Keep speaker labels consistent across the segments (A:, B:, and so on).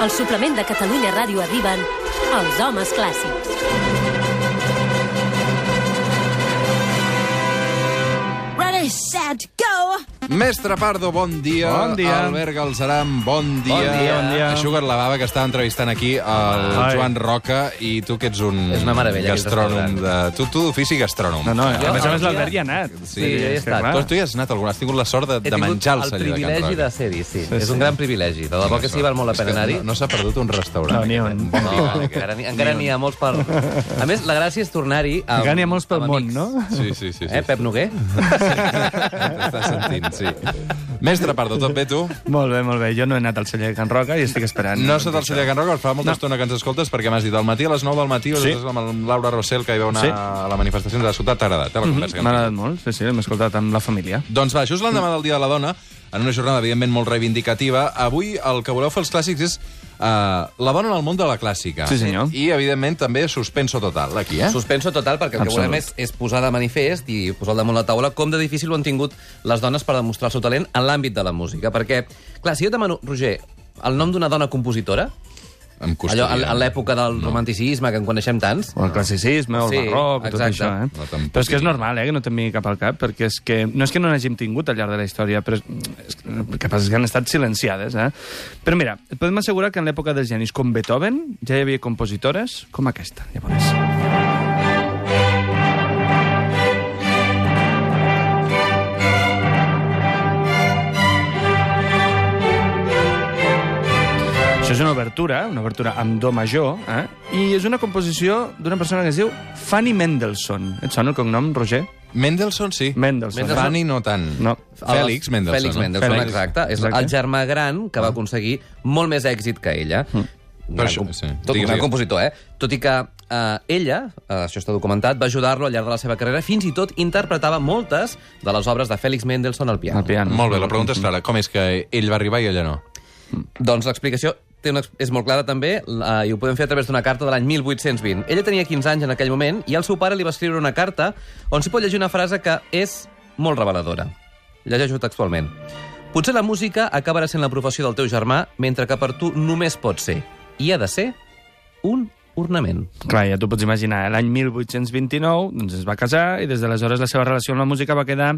A: Al suplement de Catalunya Ràdio arriben els homes clàssics.
B: Ready, set, go!
C: Mestre Pardo, bon dia.
D: Bon dia.
C: Albert Galceran, bon dia.
D: dia, bon dia.
C: Aixuga't la bava, que està entrevistant aquí el
D: Ai.
C: Joan Roca, i tu que ets un
E: És una meravella, aquest
C: gastrònom. De...
E: restaurant.
C: Tu, tu d'ofici gastrònom.
D: No, no, a més a més
E: Jo-
D: l'Albert hi ha anat.
E: Sí, jo hi he
D: és que
E: estat.
D: clar.
C: Però tu hi has anat algun, has tingut la sort de, de menjar el
E: el
C: celler de Can
E: privilegi
C: Roca.
E: de ser-hi, sí.
D: Sí,
E: sí. És
D: sí.
E: un gran privilegi. De debò que sí, val molt la
C: És que
E: pena anar-hi.
C: No, no s'ha perdut un restaurant.
D: No, ni
C: aquest.
D: un.
C: Bon
E: No,
C: dia, aquest.
E: encara n'hi- encara n'hi ha molts per... A més, la gràcia és tornar-hi amb,
D: Encara n'hi ha molts pel
E: amb
D: món,
E: amics.
D: no?
C: Sí, sí, sí. sí.
E: Eh, Pep Noguer?
C: T'estàs sentint, sí. Mestre Pardo, tot bé, tu?
D: Molt bé, molt bé. Jo no he anat al celler de Can Roca i estic esperant.
C: No sota el celler de Can Roca, fa molta no. estona que ens escoltes, perquè m'has dit al matí a les 9 del matí, sí.
D: Sí.
C: amb el Laura Rossell, que hi vau anar sí.
D: Sí.
C: a la manifestació de la ciutat, t'ha agradat, eh, la conversa que hem
D: M'ha
C: tingut?
D: agradat molt, sí, sí, l'hem escoltat amb la família.
C: Doncs va, just l'endemà del Dia de la Dona, en una jornada, evidentment, molt reivindicativa, avui el que voleu fer els clàssics és uh, la dona en el món de la clàssica.
D: Sí, senyor.
C: I, evidentment, també suspenso total, aquí, eh?
E: Suspenso total, perquè el que
D: Absolut.
E: volem és, és posar de manifest i posar al damunt la taula com de difícil ho han tingut les dones per demostrar el seu talent en l'àmbit de la música. Perquè, clar, si jo et demano, Roger, el nom d'una dona compositora,
C: Em costaria.
E: allò en, en l'època del romanticisme, que en coneixem tants,
D: O el classicisme, o el
E: Sí,
D: barroc, i tot
E: exacte.
D: això,
C: No,
D: eh?
C: tampoc
D: Però és que és
C: hi-
D: normal, eh, que no te'n vingui cap al cap, perquè és que... No és que no n'hàgim tingut al llarg de la història, però és, és que, el que passa és que han estat silenciades, eh? Però mira, et podem assegurar que en l'època dels genis com Beethoven ja hi havia compositores com aquesta, llavors. Això és una obertura, una obertura amb do major, eh? i és una composició d'una persona que es diu Fanny Mendelssohn. Et sona el cognom, Roger?
C: Mendelssohn, sí.
D: Mendelssohn.
E: Mendelssohn.
C: Fanny no tant.
D: No.
C: Fèlix Mendelssohn. eh?
E: Fèlix
C: no?
E: Mendelssohn,
D: Fèlix.
E: exacte. És
D: Exacte.
E: el germà gran que va aconseguir molt més èxit que ella. Un
C: Mm. Per
E: gran
C: això,
E: com-
C: sí.
E: Tot
C: Digues,
E: un gran
C: digues.
E: compositor, eh? Tot i que eh, ella, eh, això està documentat, va ajudar-lo al llarg de la seva carrera, fins i tot interpretava moltes de les obres de Fèlix Mendelssohn al piano.
D: El piano.
C: Molt bé, la pregunta és clara. Com és que ell va arribar i ella no?
E: Doncs l'explicació té una, ex- és molt clara també eh, i ho podem fer a través d'una carta de l'any 1820. Ella tenia 15 anys en aquell moment i el seu pare li va escriure una carta on s'hi pot llegir una frase que és molt reveladora. Llegeixo textualment. Potser la música acabarà sent la professió del teu germà mentre que per tu només pot ser i ha de ser un ornament.
D: Clar, ja t'ho pots imaginar. eh? L'any 1829 doncs, es va casar i des d'aleshores la seva relació amb la música va quedar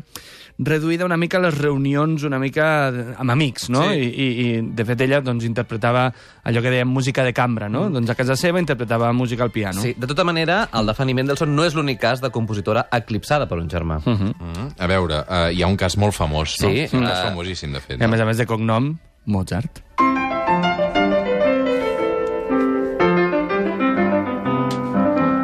D: reduïda una mica a les reunions una mica eh, amb amics, no?
C: Sí.
D: I, i, i de fet ella doncs, interpretava allò que dèiem música de cambra, no? Mm. Doncs a casa seva interpretava música al piano.
E: Sí, de tota manera, el de Fanny Mendelssohn no és l'únic cas de compositora eclipsada per un germà. Mm -hmm.
C: Mm? A veure, uh, hi ha un cas molt famós, no?
E: Sí,
C: Un cas
E: eh,
C: famosíssim, de fet.
D: I a més a més de cognom, Mozart.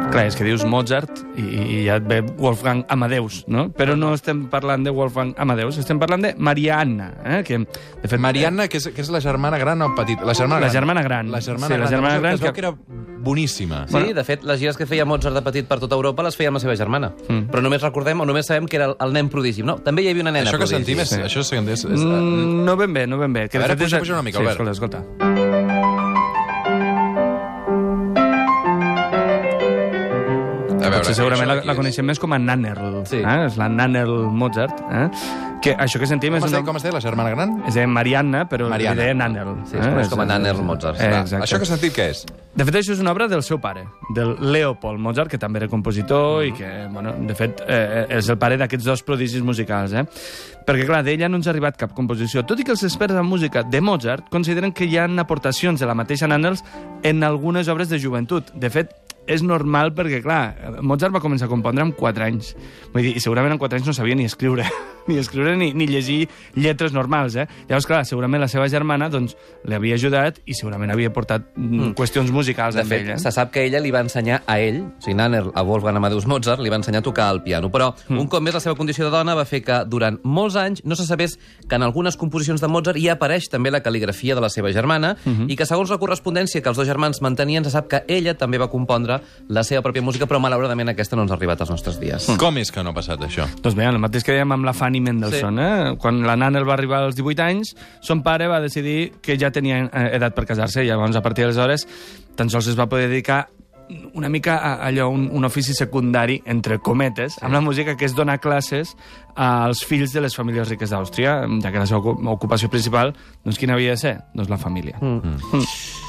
D: Clar, és que dius Mozart i, i ja et ve Wolfgang Amadeus, no? Però no estem parlant de Wolfgang Amadeus, estem parlant de Marianna, eh? Que, de fet,
C: Marianna, que és, que és la germana gran o petita? La germana
D: La
C: gran.
D: germana gran.
C: La germana
D: Sí, la
C: gran.
D: germana
C: que
D: gran
C: Es veu
D: que-
C: que era boníssima.
E: Sí, bueno. de fet, les gires que feia Mozart de petit per tota Europa les feia amb la seva germana. Mm. Però només recordem o només sabem que era el- el nen prodigi. No, també hi havia una nena
C: Això que
E: prodigi.
C: sentim és... Això és, és, és
D: Mm, no ben bé, no ben bé. Que
C: A
D: de
C: veure,
D: fet és-
C: puja- puja una mica,
D: sí,
C: Albert.
D: escolta, escolta.
C: A veure,
D: Potser segurament
C: això
D: la,
C: d'aquí
D: la
C: és-
D: coneixem més com a Nannerl,
E: Sí.
D: eh? És la Nannerl Mozart, eh? Que això que sentim
C: Com
D: és
C: es,
D: un
C: deia,
D: nom-
C: com es deia la germana gran?
D: Es deia Marianna, però Mariana.
C: Mariana.
D: li deia Nannerl.
E: Sí, es coneix Ah, com a Nannerl Mozart.
D: Eh,
E: Va,
D: exacte.
C: Això que has sentit què és?
D: De fet, això és una obra del seu pare, del Leopold Mozart, que també era compositor i que, bueno, de fet, eh, és el pare d'aquests dos prodigis musicals, eh? Perquè, clar, d'ella no ens ha arribat cap composició, tot i que els experts en música de Mozart consideren que hi ha aportacions de la mateixa Nannerls en algunes obres de joventut. De fet, és normal perquè, clar, Mozart va començar a compondre amb 4 anys. Vull dir, i segurament en 4 anys no sabia ni escriure, ni escriure ni, ni llegir lletres normals, eh? Llavors, clar, segurament la seva germana, doncs, li havia ajudat i segurament havia portat mm. qüestions musicals
E: De
D: amb
E: fet,
D: ella.
E: se sap que ella li va ensenyar a ell, o sigui, Nanner, a Wolfgang Amadeus Mozart, li va ensenyar a tocar el piano. Però,
C: Mm.
E: un cop més, la seva condició de dona va fer que, durant molts anys, no se sabés que en algunes composicions de Mozart hi apareix també la cal·ligrafia de la seva germana
C: Mm-hmm.
E: i que, segons la correspondència que els dos germans mantenien, se sap que ella també va compondre la seva pròpia música, però, malauradament, aquesta no ens ha arribat als nostres dies.
D: Mm.
C: Com és que no ha passat això?
D: Doncs bé, el mateix que dèiem amb la Fanny Mendelssohn, eh? Quan la Nanel va arribar als 18 anys, son pare va decidir que ja tenia eh, edat per casar-se, i llavors a partir d'aleshores tan sols es va poder dedicar una mica a allò, un, un ofici secundari, entre cometes, amb la música que és donar classes als fills de les famílies riques d'Àustria, ja que la seva ocu- ocupació principal, doncs quina havia de ser? Doncs la família. Mm.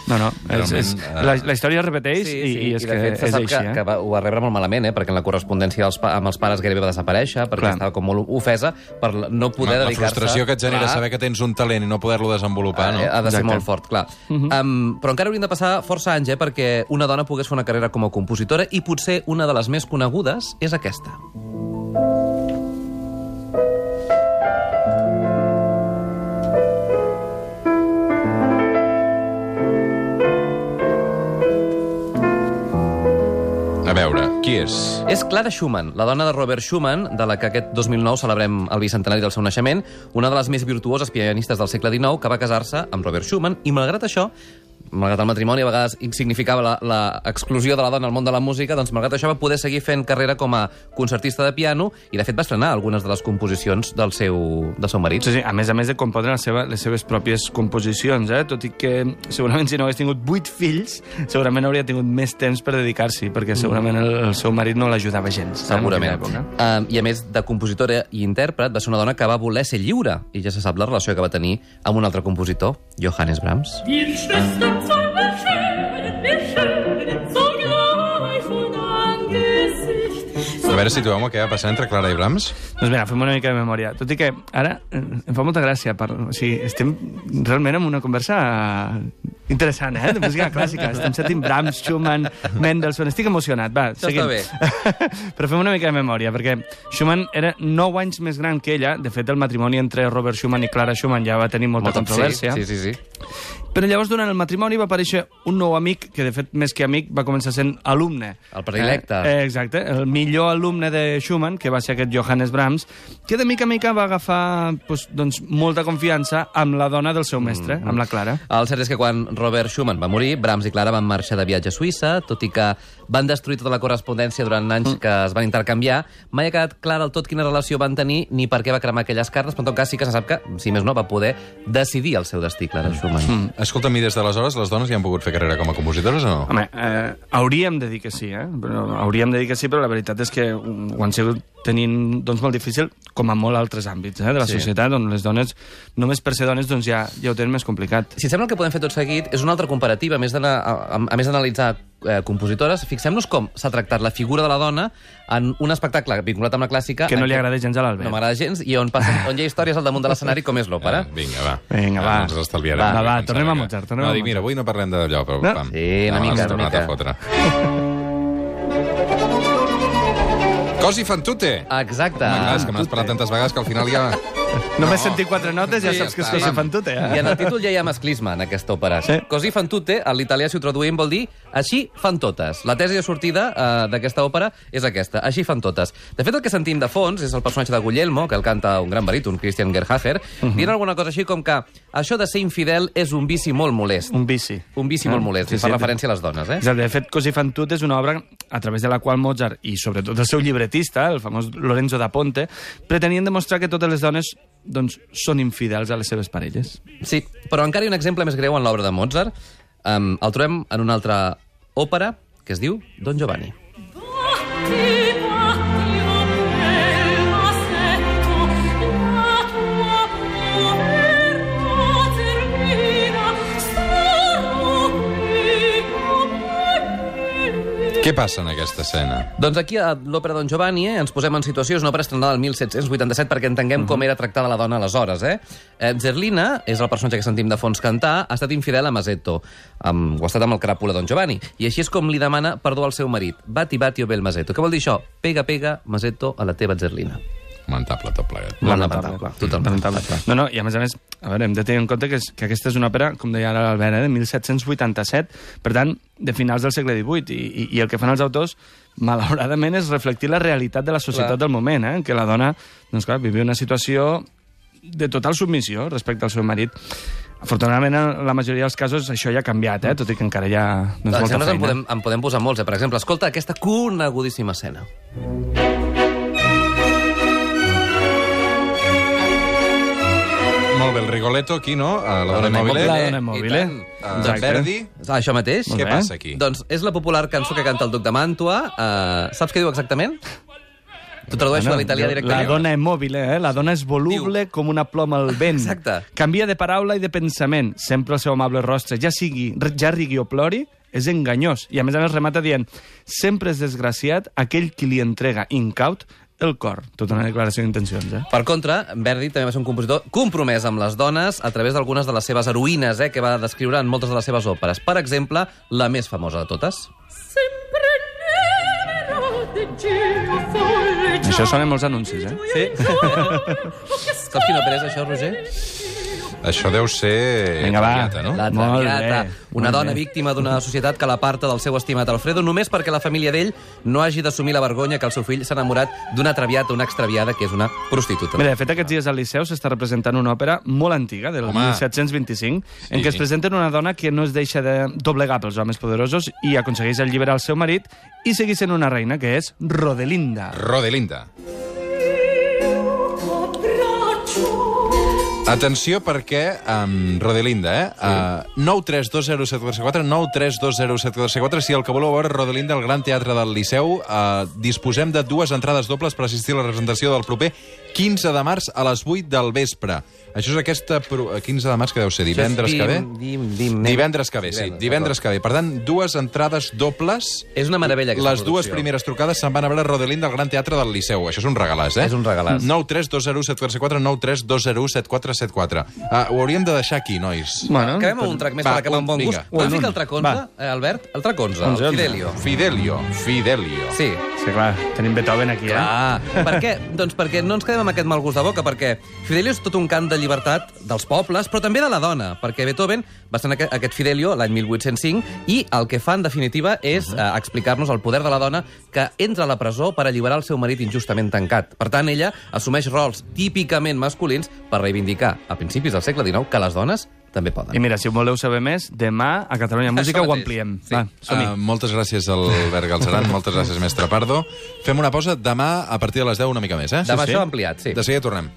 D: No, no, és,
C: Realment,
D: és,
C: eh,
D: la, la història es repeteix
E: Sí,
D: sí,
E: sí.
D: i, i és
E: de
D: que
E: fet, se
D: és
E: sap
D: així,
E: que,
D: eh?
E: que va, ho va rebre molt malament, eh? perquè en la correspondència dels, pa- amb els pares gairebé va desaparèixer,
D: Clar.
E: perquè Clar. estava com molt ofesa per la- no poder
C: la, la
E: dedicar-se...
C: frustració que et genera
E: Clar.
C: Clar. saber que tens un talent i no poder-lo
D: Ah,
C: desenvolupar, no?
E: Eh, Ha de ser
D: Exacte. Mhm.
E: molt fort, clar. um, però encara haurien de passar força anys eh, perquè una dona pogués fer una carrera com a compositora i potser una de les més conegudes és aquesta.
C: A veure, qui és?
E: És Clara Schumann, la dona de Robert Schumann, de la que aquest 2009 celebrem el bicentenari del seu naixement, una de les més virtuoses pianistes del segle XIX que va casar-se amb Robert Schumann, i malgrat això, malgrat el matrimoni a vegades significava la- l'exclusió de la dona al món de la música, doncs malgrat això va poder seguir fent carrera com a concertista de piano i de fet va estrenar algunes de les composicions del seu, del seu marit.
D: Sí, sí, a més a més de compondre les seves, les seves pròpies composicions, eh? tot i que segurament si no hagués tingut vuit fills, segurament hauria tingut més temps per dedicar-s'hi, perquè segurament el, el seu marit no l'ajudava gens. eh, en
E: Segurament.
D: aquella època.
E: Uh, I a més de compositora i intèrpret, va ser una dona que va voler ser lliure, i ja se sap la relació que va tenir amb un altre compositor, Johannes Brahms.
F: Wir Schwestern von der Schönen, wir Schönen, so gleich von Angesicht.
C: A veure, situeu-me què va passar entre Clara i Brahms.
D: Doncs mira, fem una mica de memòria. Tot i que ara eh, em fa molta gràcia. Per... O sigui, estem realment en una conversa interessant, eh? De música clàssica. Estem sentint Brahms, Schumann, Mendelssohn... Estic emocionat, va,
E: Això
D: seguim.
E: està
D: bé. Però fem una mica de memòria, perquè Schumann era 9 anys més gran que ella. De fet, el matrimoni entre Robert Schumann i Clara Schumann ja va tenir molta, molta controvèrsia.
E: Sí, sí, sí.
D: Però llavors, durant el matrimoni, va aparèixer un nou amic, que de fet, més que amic, va començar sent alumne.
E: El predilecte.
D: Eh, eh, exacte, el millor alumne de Schumann, que va ser aquest Johannes Brahms, que de mica en mica va agafar pues, doncs, molta confiança amb la dona del
E: Mm,
D: seu mestre, amb la Clara.
E: El cert és que quan Robert Schumann va morir, Brahms i Clara van marxar de viatge a Suïssa, tot i que van destruir tota la correspondència durant anys que es van intercanviar. Mai ha quedat clara del tot quina relació van tenir ni per què va cremar aquelles cartes, però en tot cas sí que se sap que, si més no, va poder decidir el seu destí, Clara Schumann. Mm.
C: Escolta'm, i des d'aleshores les dones ja han pogut fer carrera com a compositores o no?
D: Home, eh, hauríem de dir que sí, eh? Però, hauríem de dir que sí, però la veritat és que ho han sigut tenint doncs, molt difícil, com a molt altres àmbits eh, de la sí. societat, on les dones, només per ser dones, doncs ja, ja ho tenen més complicat.
E: Si et sembla el que podem fer tot seguit, és una altra comparativa. A més d'anar- a- a- a més d'analitzar eh, compositores, fixem-nos com s'ha tractat la figura de la dona en un espectacle vinculat amb la clàssica...
D: Que no
E: en
D: li
E: què-
D: agrada gens a l'Albert.
E: No m'agrada gens, i on, passen, on hi ha històries al damunt de l'escenari com és l'òpera.
C: Eh, Vinga, va.
D: Vinga, va.
C: Ens estalviarem.
D: Va, va,
C: Em
D: tornem
C: sembla que-
D: a Mozart, tornem
C: no,
D: a
C: dic, mira, avui no parlem de d'allò, però...
D: No.
C: pam.
E: Sí, una
C: No,
E: mica,
C: has
E: una
C: tornat
E: mica.
C: a fotre. Cos i fan tute!
E: Exacte.
C: Home, clar,
D: Ah,
C: Ah, és que me n'has parlat tantes vegades que al final ja...
D: Només sentir quatre notes ja
E: Sí,
D: saps que és
E: està,
D: cosa
E: pam.
D: fantute, eh?
E: I en el títol ja hi ha masclisme, en aquesta òpera.
D: Sí.
E: Sí. Così fan tutte, a l'italià si ho traduïm vol dir així fan totes. La tesi de sortida eh, d'aquesta òpera és aquesta, així fan totes. De fet, el que sentim de fons és el personatge de Guglielmo, que el canta un gran baríton, Christian Gerhafer, dient alguna cosa així com que això de ser infidel és un vici molt molest.
D: Un bici.
E: Un vici
D: Eh?
E: molt molest, sí, sí, fa referència a les dones, eh?
D: És a dir, de fet, Così fan tutte és una obra a través de la qual Mozart, i sobretot el seu llibretista, el famós Lorenzo da Ponte, pretenien demostrar que totes les dones doncs, són infidels a les seves parelles.
E: Sí, però encara hi ha un exemple més greu en l'obra de Mozart. Um, el trobem en una altra òpera que es diu Don Giovanni.
F: Batti, batti, o bel massetto, la tua er povera servina, sarò qui come te.
C: Què passa en aquesta escena?
E: Doncs aquí a l'òpera Don Giovanni eh, ens posem en situació, és una òpera estrenada el 1787 perquè entenguem com era tractada la dona aleshores. Eh? Eh, Zerlina, és el personatge que sentim de fons cantar, ha estat infidel a Masetto, amb, ho ha estat amb el cràpula Don Giovanni, i així és com li demana perdó al seu marit. Bati, bati o bel Masetto. Què vol dir això? Pega, pega, Masetto, a la teva Zerlina.
C: Lamentable, tot plegat.
E: Molt lamentable. Totalment.
D: No, no, i a més a més, a veure, hem de tenir en compte que, és, que aquesta és una òpera, com deia ara l'Albert, eh, de 1787, per tant, de finals del segle XVIII, i, i, i el que fan els autors, malauradament, és reflectir la realitat de la societat
E: Clar.
D: clar. del moment, eh, en què la dona, doncs clar, vivia una situació de total submissió respecte al seu marit. Afortunadament, en la majoria dels casos, això ja ha canviat, eh, tot i que encara hi ha doncs,
E: Doncs
D: molta
E: en
D: feina.
E: podem, en podem posar molts, eh? per exemple. Escolta aquesta conegudíssima escena.
C: Molt bé, el Rigoletto aquí, no? A la dona
E: Mòbile.
C: mòbile.
D: La dona eh? mòbile.
E: Eh, I tant.
C: Ah,
E: Doncs
C: Verdi.
E: Això mateix.
D: Molt
C: Què
D: bé.
C: passa aquí?
E: Eh, Doncs és la popular cançó que canta el duc de Màntua. Uh, saps què diu exactament? T'ho tradueixo a l'italià
D: La
E: directament.
D: dona és mòbil, eh? La dona és voluble com una ploma al vent.
E: Exacte.
D: Canvia de paraula i de pensament. Sempre el seu amable rostre, ja sigui, ja rigui o plori, és enganyós. I a més a més remata dient sempre és desgraciat aquell qui li entrega incaut el cor. Tota una declaració d'intencions, eh?
E: Per contra, Verdi també va ser un compositor compromès amb les dones a través d'algunes de les seves heroïnes, eh, que va descriure en moltes de les seves òperes. Per exemple, la més famosa de totes.
F: Sempre nero di giro folle già.
D: Això sona a molts anuncis, eh?
E: Sí. Saps quina opera és això, Roger?
C: Això deu ser...
D: Doncs- Vinga, va.
C: Traviata, No?
E: La
D: Molt
E: Traviata,
D: bé,
E: una
D: molt
E: dona
D: bé.
E: víctima d'una societat que l'aparta del seu estimat Alfredo només perquè la família d'ell no hagi d'assumir la vergonya que el seu fill s'ha enamorat d'una Traviata, una extraviada, que és una prostituta.
D: Mira, de fet, aquests dies al Liceu s'està representant una òpera molt antiga, del
C: Home.
D: 1725, en
C: Sí.
D: què es presenta una dona que no es deixa de doblegar pels homes poderosos i aconsegueix alliberar el seu marit i seguir sent una reina, que és Rodelinda.
C: Rodelinda.
F: Io t'abbraccio.
C: Atenció perquè um, Rodelinda, eh? Sí. Uh, 9320744, 9320744, si el que voleu veure Rodelinda al Gran Teatre del Liceu, uh, disposem de dues entrades dobles per assistir a la presentació del proper 15 de març a les 8 del vespre. Això és aquesta... Pro... 15 de març que deu ser, divendres que ve?
E: Dim, dim, dim, dim.
C: Divendres que ve, sí,
E: Divendres,
C: divendres que ve. Per tant, dues entrades dobles...
E: És una meravella, aquesta
C: Les dues
E: producció.
C: primeres trucades se'n van a veure a Rodelinda al Gran Teatre del Liceu. Això és un regalàs, eh?
E: És un regalàs.
C: 932017474, 932017474. Ah, ho hauríem de deixar aquí, nois.
D: Bueno,
E: Acabem amb un track més
C: Va,
E: per acabar amb bon
C: vinga.
E: gust. Podem
D: Un,
E: ficar
D: un.
E: el track 11,
D: Va.
E: eh, Albert? El track 11,
D: Onze,
E: el
D: onze.
E: Fidelio.
C: Fidelio, Fidelio.
E: Sí,
D: Sí, clar, tenim Beethoven aquí, eh?
E: Ah, per què? Doncs perquè no ens quedem amb aquest mal gust de boca, perquè Fidelio és tot un cant de llibertat dels pobles, però també de la dona, perquè Beethoven va ser aquest, aquest Fidelio l'any 1805 i el que fa, en definitiva, és
D: Mhm.
E: uh -huh. explicar-nos el poder de la dona que entra a la presó per alliberar el seu marit injustament tancat. Per tant, ella assumeix rols típicament masculins per reivindicar, a principis del segle XIX, que les dones també poden.
D: I mira, si ho voleu saber més, demà a Catalunya Música
E: Això
D: ho
E: mateix.
D: ampliem.
E: Sí.
D: Va, som-hi.
C: Uh, moltes gràcies al Albert Galceran, moltes gràcies, mestre Pardo. Fem una pausa demà a partir de les 10 una mica més, eh?
E: Demà
D: sí.
E: això ampliat, sí.
C: De seguida tornem.